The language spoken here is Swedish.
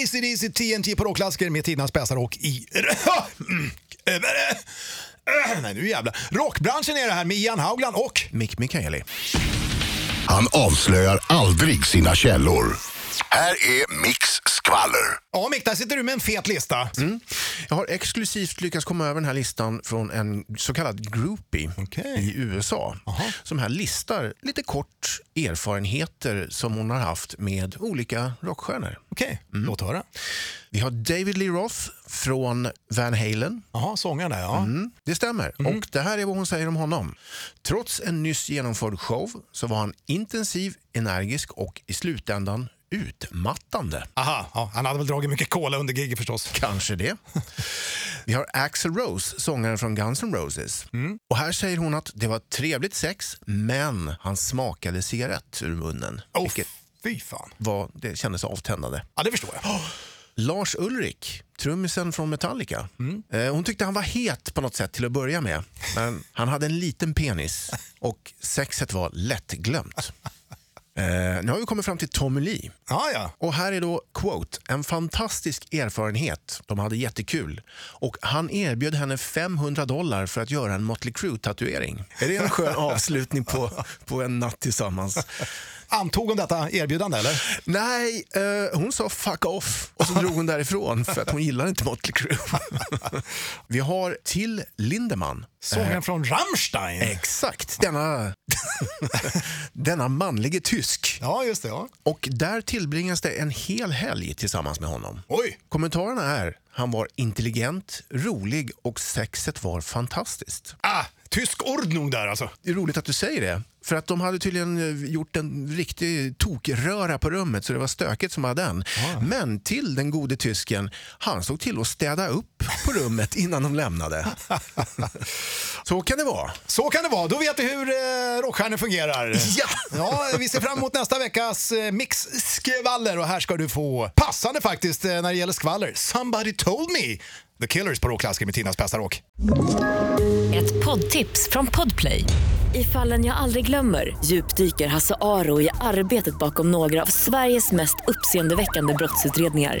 Easy Deasy TNT på rockklassiker med tidernas bästa rock i... Nej, nu jävlar. Rockbranschen är det här med Ian Haugland och Mick Mikaeli. Han avslöjar aldrig sina källor. Här är Mix skvaller. Ja, Mick, där sitter du med en fet lista. Jag har exklusivt lyckats komma över den här listan från en så kallad groupie Okej. i USA. Som här listar lite kort erfarenheter som hon har haft med olika rockstjärnor. Okej, låt höra. Vi har David Lee Roth från Van Halen. Jaha, sångaren där, ja. Mm, det stämmer. Och det här är vad hon säger om honom. Trots en nyss genomförd show så var han intensiv, energisk och i slutändan utmattande. Aha, ja, han hade väl dragit mycket cola under giget förstås. Kanske det. Vi har Axl Rose, sångaren från Guns N' Roses. Och här säger hon att det var trevligt sex, men han smakade cigarett ur munnen. Oh, Vilket fy fan. var, det kändes avtändande. Ja, det förstår jag. Lars Ulrik, trummisen från Metallica. Eh, hon tyckte han var het på något sätt till att börja med. Men han hade en liten penis och sexet var lättglömt. Eh, nu har vi kommit fram till Tommy Lee. Ja, ja. Och här är då, quote, en fantastisk erfarenhet. De hade jättekul. Och han erbjöd henne 500 dollar för att göra en Motley Crue-tatuering. Är det en skön avslutning på, på en natt tillsammans? Antog hon detta erbjudande, eller? Äh. Nej, eh, hon sa fuck off och så drog hon därifrån för att hon gillar inte Motley Crue. Vi har till Lindemann. Sångaren från Rammstein. Exakt, denna, denna manlige tysk. Ja, just det. Ja. Och där tillbringas det en hel helg tillsammans med honom. Oj! Kommentarerna är han var intelligent, rolig och sexet var fantastiskt. Ah, tysk ordnung där alltså. Det är roligt att du säger det. För att de hade tydligen eh, gjort en riktig tokröra på rummet så det var stökigt som hade den. Men till den gode tysken, han såg till att städa upp på rummet innan de lämnade. så kan det vara. Så kan det vara. Då vet vi hur eh, rockstjärnor fungerar. Ja! Ja, vi ser fram emot nästa veckas eh, mix-skvaller och här ska du få, passande faktiskt eh, när det gäller skvaller, Somebody Told Me! The Killers på rockklassiker med Tinas bästa rock. Ett poddtips från Podplay. I fallen jag aldrig glömmer djupdyker Hasse Aro i arbetet bakom några av Sveriges mest uppseendeväckande brottsutredningar.